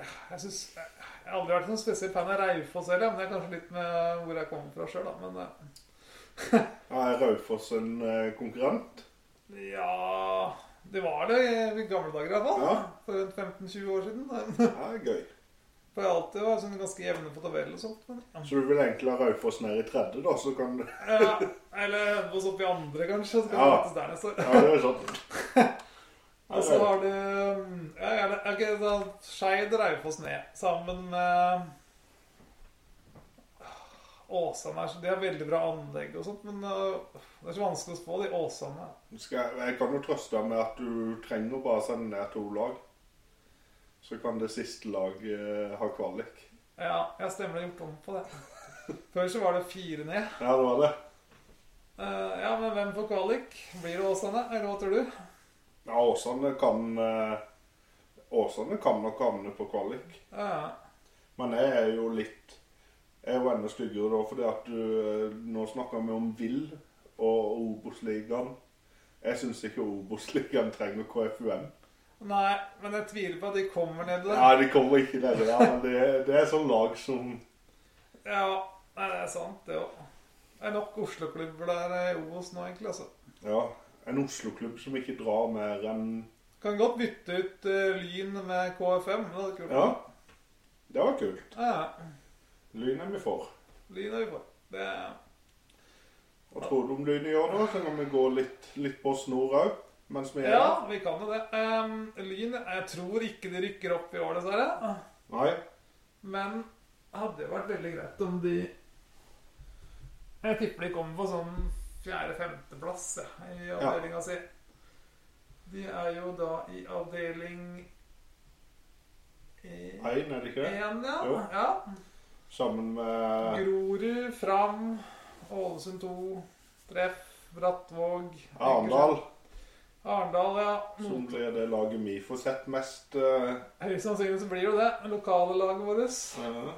S2: Jeg synes, jeg har aldri vært noen spesiell fan av Raufoss heller, men det er kanskje litt med hvor jeg kommer fra sjøl, da. Men eh,
S1: Ja, Er Raufoss en eh, konkurrent?
S2: eh, Ja Det var det i gamle dager i hvert fall.
S1: Ja.
S2: For rundt 15-20 år siden.
S1: Ja, det er gøy.
S2: For jeg har alltid vært sånn ganske jevne på tabellen og sånt. Men,
S1: Så du vil egentlig ha Raufoss ned i tredje, da? Så kan du
S2: ja, eller oss opp i andre, kanskje. Så kan vi
S1: Ja.
S2: møtes der neste år.
S1: Ja, det er sånn. sant.
S2: Og så har du ja, gjerne, ok, da Skeid Raufoss ned sammen med Åsane er så- De har veldig bra anlegg og sånt, men øh, det er så vanskelig å spå de Åsane.
S1: Skal jeg, jeg kan jo trøste deg med at du trenger å bare sende ned to lag. Så kan det siste laget eh, ha kvalik.
S2: Ja, jeg stemmer det er gjort om på det. Før så var det fire ned.
S1: Ja, det var det.
S2: Eh, ja, men hvem får kvalik? Blir det Åsane, eller hva tror du?
S1: Ja, Åsane kan eh, Åsane kan nok havne på kvalik.
S2: Ja,
S1: Men jeg er jo litt Jeg er jo enda styggere da, fordi at du eh, Nå snakker vi om Vill og Obos-ligaen. Jeg syns ikke Obos-ligaen trenger KFUM.
S2: nei, men jeg tviler på at de kommer ned der.
S1: Nei, de kommer ikke nedi der. Men det, det er sånn lag som
S2: Ja, nei, det er sant, det òg. Det er nok Oslo-klubber der eh, i Obos nå, egentlig. altså.
S1: Ja, en Oslo-klubb som ikke drar mer enn
S2: Kan godt bytte ut eh, Lyn med KFM. Det hadde ikke vært
S1: Ja. Det var kult.
S2: noe. Ja,
S1: Lyn er vi for.
S2: Lyn er vi for. Det er
S1: Hva tror du om Lyn i år, da? Så kan vi gå litt, litt på snor òg. Mens vi er
S2: Ja, vi kan jo det. Ehm, lyn Jeg tror ikke de rykker opp i år, dessverre.
S1: Nei.
S2: Men hadde jo vært veldig greit om de Jeg tipper de kommer på sånn fjerde-femteplass i avdelinga si. De er jo da i avdeling én,
S1: Én, er det ikke det?
S2: ja.
S1: Jo.
S2: ja.
S1: Sammen med
S2: Grorud, Fram, Ålesund 2, Treff, Brattvåg
S1: Arendal.
S2: Arendal, ja. Mm.
S1: Som blir det laget vi får sett mest. eh,
S2: Høyst sannsynlig så blir det jo det. Lokale laget vårt.
S1: eh.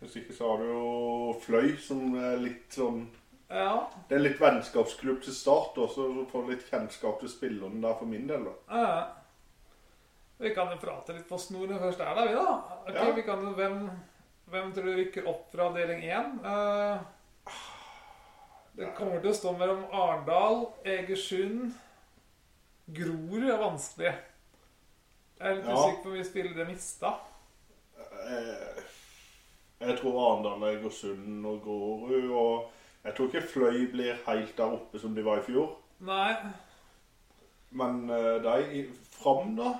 S1: Hvis ikke så har du jo Fløy, som er litt sånn
S2: Ja.
S1: Det er litt vennskapsklubb til start, og så får du litt kjennskap til spillerne der for min del. da.
S2: ja. Eh. Vi kan jo prate litt på snor når vi først er der, vi, da. Ok,
S1: Ja.
S2: vi kan jo, hvem, hvem tror du rykker opp fra avdeling 1? det kommer til å stå mellom Arendal, Egersund Grorud er vanskelig. Jeg er litt
S1: Ja.
S2: usikker på hvor mye spillere de mista.
S1: Eh, Jeg tror Arendal, Egersund og Grorud og Jeg tror ikke Fløy blir helt der oppe som de var i fjor.
S2: Nei.
S1: Men eh, de i- fram, da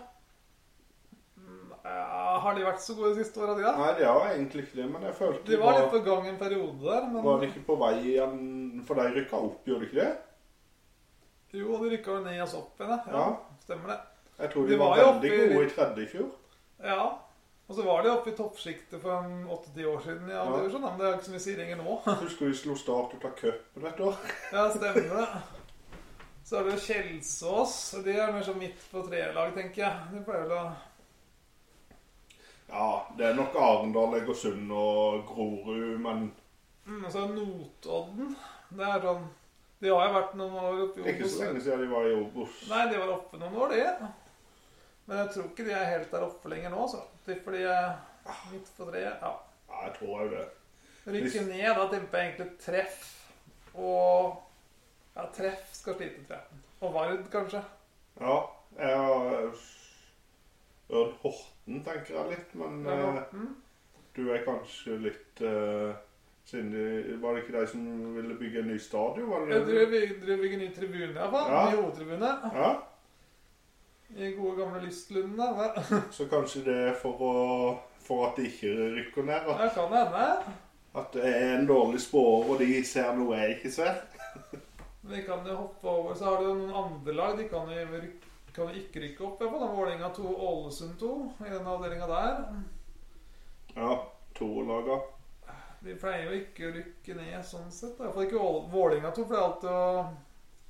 S2: Ja, eh, har de vært så gode de siste åra, de, da?
S1: Nei, det har jeg egentlig ikke det, men jeg følte
S2: De var litt sånn- på gang en periode der, men
S1: Var de ikke på vei igjen? For de rykka opp, gjorde de ikke det?
S2: jo, de rykka vel ned oss opp igjen, ja.
S1: Ja.
S2: Stemmer det.
S1: Jeg tror de,
S2: De
S1: var,
S2: var jo
S1: veldig
S2: oppe i-
S1: gode i tredje i fjor.
S2: Ja. Og så var de oppe i toppsjiktet for en åtte-ti år siden, ja,
S1: Ja.
S2: det er jo sånn, men det er jo ikke så mye sier lenger nå.
S1: Husker vi slo Start og tok cupen et år.
S2: Ja, stemmer det. Så er det jo Kjelsås. De er mer sånn midt på treet-lag, tenker jeg. De pleier vel å
S1: Ja, det er nok Arendal, Egersund og Grorud, men
S2: mm, Og så er det Notodden. Det er sånn De har jo vært noen år oppe
S1: det er
S2: i
S1: ikke så
S2: Obos.
S1: lenge siden de var i Obos.
S2: Nei, de var oppe noen år, de. Men jeg tror ikke de er helt der oppe lenger nå, altså. så. Tipper de er ah, midt på treet. Ja.
S1: Ja, jeg tror òg det.
S2: Rykke ned, da tenker jeg egentlig treff og Ja, treff skal slite, tror jeg. Og Vard, kanskje.
S1: Ja. Jeg har eh, Ørn Horten tenker jeg litt, men
S2: Med
S1: eh,
S2: Morten.
S1: du er kanskje litt eh, Siden de Var det ikke de som ville bygge en ny stadion? Var
S2: Jeg
S1: det
S2: tror vi tror vi bygger ny tribune, iallfall.
S1: Ja.
S2: Ja. Ny hovedtribune.
S1: Ja?
S2: I gode, gamle Lystlundene. der.
S1: Så kanskje det er for, å, for at de ikke rykker ned. At,
S2: Der kan det hende.
S1: at det er en dårlig spåer, og de ser noe jeg ikke ser.
S2: Vi kan jo hoppe over. Så har du noen andre lag. De kan jo, ryk- kan jo ikke rykke opp. iallfall. Vålerenga 2, Ålesund 2 i den avdelinga der.
S1: Ja, to laga.
S2: De pleier jo ikke å rykke ned sånn sett. Iallfall ikke Ål- Vålerenga 2 pleier alltid å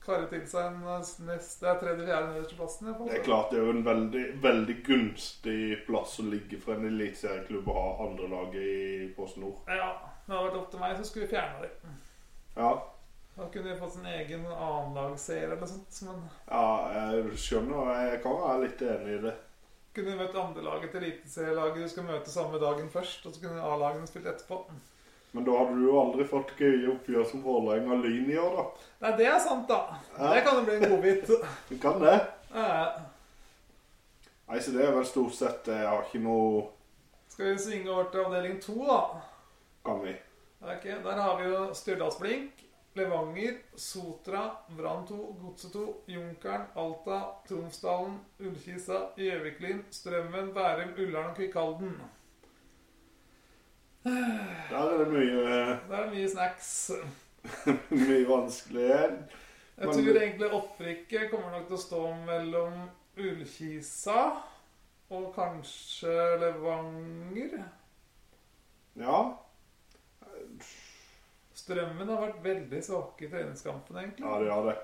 S2: karre til seg en eh, nest, det er tredje-fjerde nederste plassen. i hvert fall.
S1: Det er klart det er jo en veldig, veldig gunstig plass å ligge for en eliteserieklubb å ha andrelaget i Post Nord.
S2: Ja, det hadde vært opp til meg, så skulle vi fjerna dem.
S1: Ja,
S2: Da kunne vi fått sin egen annenlagsserie eller noe sånt. Men
S1: ja, jeg skjønner, og jeg kan være litt enig i det.
S2: kunne vi møtt andrelaget til eliteserielaget du skal møte samme dagen først, og så kunne A-lagene spilt etterpå.
S1: Men da hadde du jo aldri fått gøye oppgjør som Vålerenga Lyn i år, da.
S2: Nei, det er sant, da.
S1: Ja.
S2: Det kan jo bli en godbit.
S1: Du kan det.
S2: Eh,
S1: Nei, så det er vel stort sett Jeg har ikke noe
S2: Skal vi svinge over til avdeling to, da?
S1: Kan vi?
S2: Ok, Der har vi jo Stjørdalsblink, Levanger, Sotra, Brann 2, Godset 2, Junkeren, Alta, Tromsdalen, Ullkisa, Gjøviklyn, Strømmen, Bærum, Ullern og Kvikalden.
S1: Der er det mye,
S2: Det er mye snacks.
S1: mye vanskelig.
S2: Jeg
S1: Men-
S2: tror egentlig opprykket kommer nok til å stå mellom Ullkisa og kanskje Levanger.
S1: Ja.
S2: Strømmen har vært veldig svake i treningskampen, egentlig.
S1: Ja, de har det.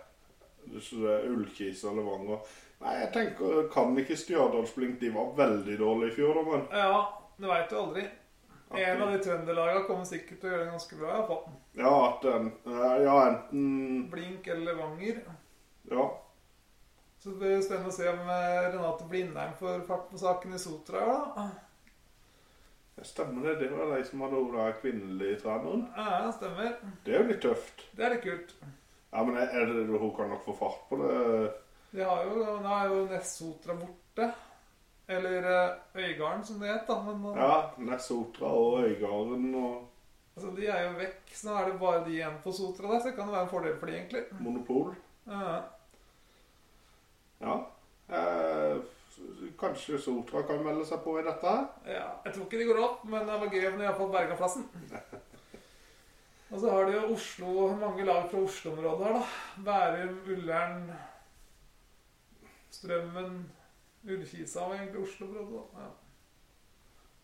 S1: Så det er Ullkisa og Levanger. Nei, jeg tenker Kan ikke Stjørdalsblink De var veldig dårlige i fjor, da, men
S2: Ja, du veit jo aldri. En av
S1: at,
S2: de trønderlagene kommer sikkert til å gjøre det ganske bra. i hvert fall.
S1: Ja, at den eh, Ja, enten
S2: Blink eller Levanger.
S1: Ja.
S2: Så det blir spennende å se om eh, Renate Blindheim får fart på saken i Sotra i år, da.
S1: det Stemmer det. Det var de som hadde vært kvinnelig treneren.
S2: Ja, det stemmer.
S1: Det er jo litt tøft.
S2: Det er litt kult.
S1: Ja, men er det, hun kan nok få fart på det.
S2: De har jo, nå er jo Nest-Sotra borte. Eller eh, Øygarden, som det het, da. Men eh,
S1: Ja. Nessotra og Øygarden og
S2: altså, de er jo vekk. Så nå er det bare de igjen på Sotra der, så det kan jo være en fordel for de, egentlig.
S1: Monopol.
S2: Ja.
S1: Ja. Eh, kanskje Sotra kan melde seg på i dette her?
S2: Ja, jeg tror ikke de går opp, men det var gøy om de iallfall berga plassen. Og så har de jo Oslo, mange lag fra Oslo-området her, da. Bærum, Ullern, Strømmen, Ullkisa var egentlig Oslo-området. da. Ja.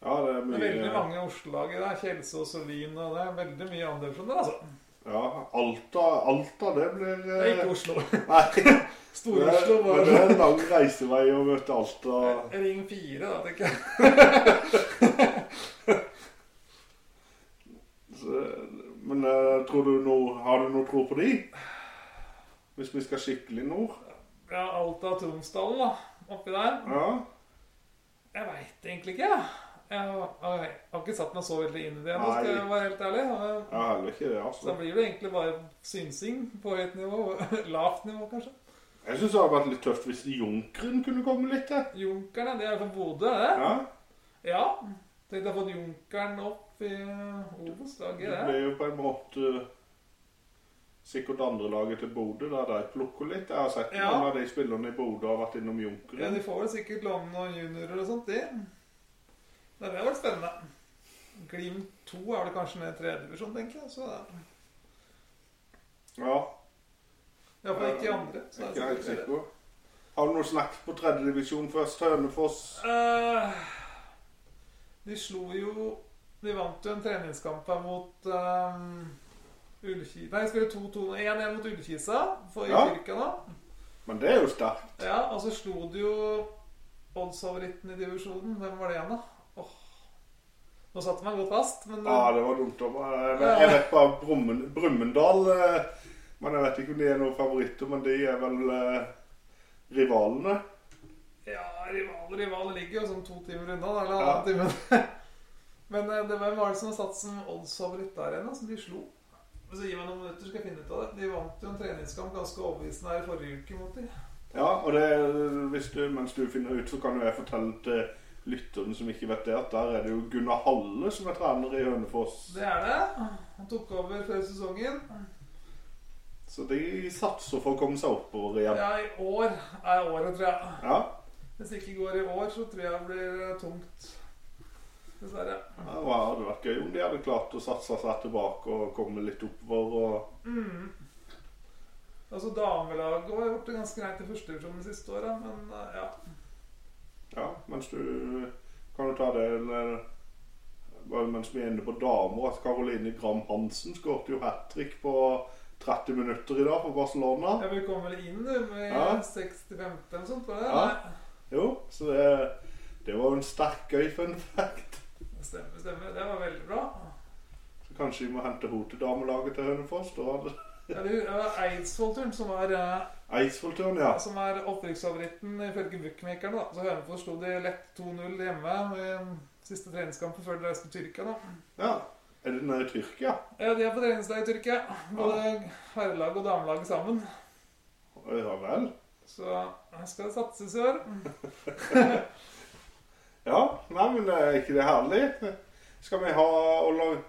S1: Ja, det er
S2: Det
S1: mye
S2: er veldig mange Oslo-lag i det. Kjelsås og Lyn og det er veldig mye andre som det, altså.
S1: Ja, Alta, Alta det blir eh,
S2: Det er ikke Oslo.
S1: Nei, det,
S2: Stor-Oslo
S1: men
S2: var
S1: det er en lang reisevei å møte Alta.
S2: Ring 4, da, tenker jeg.
S1: Så, men eh, tror du noe, har du noe tro på de? Hvis vi skal skikkelig nord?
S2: Ja, Alta og Tromsdalen, da. Oppi der.
S1: Ja.
S2: Jeg veit egentlig ikke. jeg. Jeg har, jeg har ikke satt meg så veldig inn i det, nå, skal
S1: Nei.
S2: jeg være helt ærlig.
S1: Jeg har heller ikke det,
S2: Så da
S1: altså.
S2: blir det egentlig bare synsing på høyt nivå. Lavt nivå, kanskje.
S1: Jeg syns det hadde vært litt tøft hvis Junkeren kunne komme litt eh. til.
S2: Junkerne, det er fra Bodø, er det?
S1: Ja.
S2: Ja. Tenkte jeg har fått Junkeren opp i Obos. Det er
S1: Det
S2: gøy, det.
S1: blir jo på en måte eh, sikkert andrelaget til Bodø, der de plukker litt. Jeg har sett
S2: Ja.
S1: noen av de spillerne i Bodø har vært innom
S2: Ja,
S1: Junkeren.
S2: de får vel sikkert låne noen juniorer og sånt, de. Det har vært spennende. Glimt 2 er vel kanskje ned i tredje divisjon, tenker jeg. Så det
S1: Ja,
S2: er iallfall ikke i andre.
S1: jeg
S2: Så
S1: er
S2: det
S1: ikke
S2: er
S1: helt
S2: sikkert bedre.
S1: sikker. Har du noe snakk på tredjedivisjon først? Hønefoss?
S2: Eh, de slo jo De vant jo en treningskamp her mot um, Ullkisa Nei, de spiller 2-2 nå. 1-1 mot Ullkisa for
S1: Ja.
S2: Tyrkia nå.
S1: Men det er jo sterkt.
S2: Ja, og så slo de jo oddsfavoritten i divisjonen. Hvem var det igjen, da? Åh. Nå satte meg godt fast, men
S1: Ja, det var dumt. å- Jeg jeg vet bare Brummen- Brumunddal eh, Men jeg vet ikke om de er noen favoritter, men de er vel eh, rivalene.
S2: Ja, rival, rival ligger jo sånn to timer unna, da, eller
S1: Ja.
S2: halvannen time. Men eh, det, hvem var det som satt som oddsfavoritt der igjen, da, som de slo? Så Gi meg noen minutter, skal jeg finne ut av det. De vant jo en treningskamp ganske overbevisende her i forrige uke mot dem.
S1: Ja, og det, hvis du, mens du finner ut, så kan jo jeg fortelle til lytterne som ikke vet det, at der er det jo Gunnar Halle som er trener i Hønefoss.
S2: Det er det. Han tok over før sesongen.
S1: Så de satser for å komme seg oppover igjen.
S2: Ja, i år er året, tror jeg.
S1: Ja,
S2: Hvis det ikke går i år, så tror jeg det blir eh, tungt. Dessverre.
S1: det var- hadde vært gøy om de hadde klart å satse seg tilbake og komme litt oppover. Og,
S2: Mm. Altså, damelaget har gjort det ganske greit i første divisjon de siste åra, men eh, ja.
S1: ja, mens du kan jo ta det eller, bare Mens vi er inne på damer, at Caroline Gram Hansen skåret jo hat trick på 30 minutter i dag for Barcelona.
S2: Ja, vi kom vel inn du, med
S1: Ja.
S2: 60-50 eller sånt, var det?
S1: Ja.
S2: Nei.
S1: Jo, så det, det var jo en sterk gøy fun fact.
S2: Det Stemmer, stemmer. Det var veldig bra.
S1: Så kanskje vi må hente henne til damelaget til Hønefoss. Da hadde
S2: Ja, det var Eidsvollturen som er, eh,
S1: Eidsvollturen, ja.
S2: som er opprykksfavoritten ifølge bookmakerne. da. Så Hønefoss slo de lett 2-0 hjemme i siste treningskampen før de reiste til Tyrkia. da.
S1: ja. Er det nede i Tyrkia?
S2: Ja, de er på treningsdag i Tyrkia, både herrelag og damelag sammen.
S1: Ja vel.
S2: Så her skal det satses i år.
S1: Ja, nei, men eh, er ikke det herlig? Skal vi ha Hvor lang-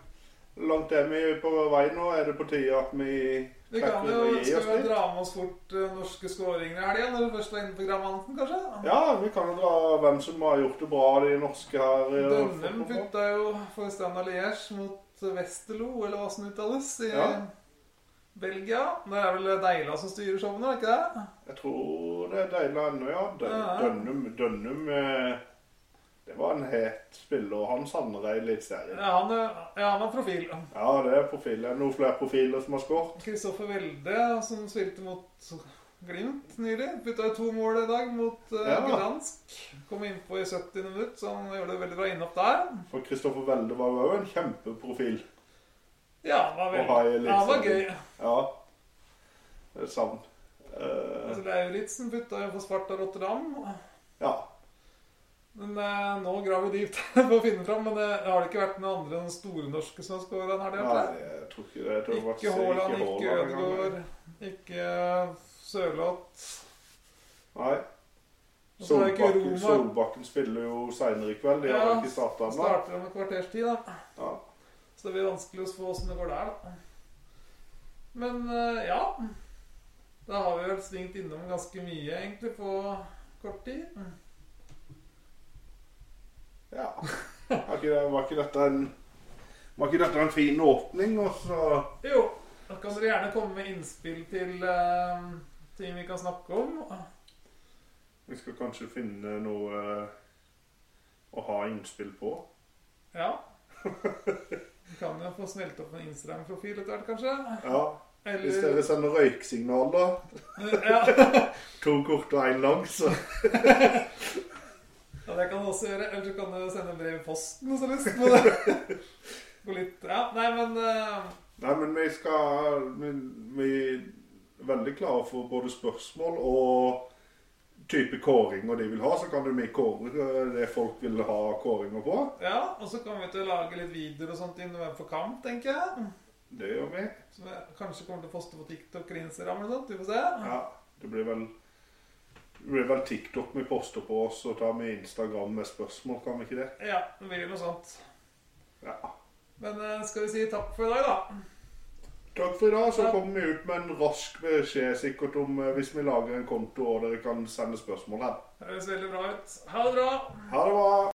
S1: langt er vi på vei nå? Er det på tide at vi
S2: Vi kan
S1: trekker
S2: jo
S1: og gir
S2: skal
S1: oss
S2: vi
S1: litt?
S2: dra med oss fort eh, norske skåringer i helga, når vi først var inne på Gramanten, kanskje?
S1: Ja, vi kan jo dra hvem som har gjort det bra, de norske her. eh, i
S2: Dønnem
S1: fotball.
S2: putta jo for Standard Liège mot Westerlo, eller hva som uttales, i
S1: Ja.
S2: Belgia. Der er vel Deila som styrer showene, er det ikke det?
S1: Jeg tror det er deilig ennå, ja. Dø-
S2: Ja.
S1: Dønnum, Dønnum eh, Det var en het spiller. Han savner jeg litt serien.
S2: Ja, han, er- ja, han er profil.
S1: Ja, det er profiler. Noen flere profiler som har skåret.
S2: Kristoffer Welde, som spilte mot Glimt nylig, putta jo to mål i dag mot uh,
S1: Ja.
S2: Gdansk. Kom innpå i 70. minutt, så han gjorde det veldig bra innopp der.
S1: For Kristoffer Welde var jo også en kjempeprofil.
S2: Ja, han var,
S1: Og har jo
S2: veldig,
S1: litt
S2: ja, han var
S1: sånn-
S2: gøy.
S1: Ja. Det er savn. Eh,
S2: Altså, Lauritzen putta jo for Sparta Rotterdam.
S1: ja.
S2: Men eh, nå graver vi dypt for å finne fram. Men det har det ikke vært noen andre enn store norske som har skåra? Har det
S1: Nei,
S2: vært det?
S1: jeg tror ikke det. Jeg tror det var-
S2: Ikke Haaland, ikke
S1: Haaland engang, nei.
S2: Ødegaard, ikke eh, Sørloth.
S1: Nei.
S2: Og så er det ikke
S1: Solbakken,
S2: Roma.
S1: Solbakken spiller jo seinere i kveld. De har
S2: Ja,
S1: jo ikke starta ennå.
S2: Starter om et kvarters tid, da.
S1: Ja.
S2: Så det blir vanskelig å spå åssen det går der, da. Men eh, ja. Da har vi vel svingt innom ganske mye, egentlig, på kort tid.
S1: Ja. Var ikke, det, var ikke dette en var ikke dette en fin åpning? Og så
S2: Jo, da kan dere gjerne komme med innspill til eh, ting vi kan snakke om.
S1: Vi skal kanskje finne noe eh, å ha innspill på.
S2: Ja. Vi kan jo få smelt opp en Instagram-profil etter hvert, kanskje.
S1: Ja, Hvis
S2: Eller
S1: dere sender røyksignal, da
S2: ja.
S1: To korte og én lang, så
S2: ja, det kan du også gjøre. Eller så kan du sende brev i posten hvis du har lyst. Men det går litt Ja, nei, men eh,
S1: Nei, men vi skal vi, vi er veldig klare for både spørsmål og type kåringer de vil ha. Så kan jo vi kåre eh, det folk vil ha kåringer på.
S2: Ja, og så kommer vi til å lage litt videoer og sånt i November for kamp, tenker jeg.
S1: Det gjør vi.
S2: Som jeg kanskje kommer til å poste på TikTok eller Instagram eller sånt. Vi får se.
S1: Ja, Det blir vel det blir vel TikTok vi poster på oss, og tar vi Instagram med spørsmål, kan vi ikke det?
S2: Ja, det blir noe sånt.
S1: Ja.
S2: Men eh, skal vi si takk for i dag, da?
S1: Takk for i dag. Så
S2: Ja.
S1: kommer vi ut med en rask beskjed sikkert om eh, hvis vi lager en konto og dere kan sende spørsmål her.
S2: Det høres veldig bra ut. Ha det bra.
S1: Ha det bra!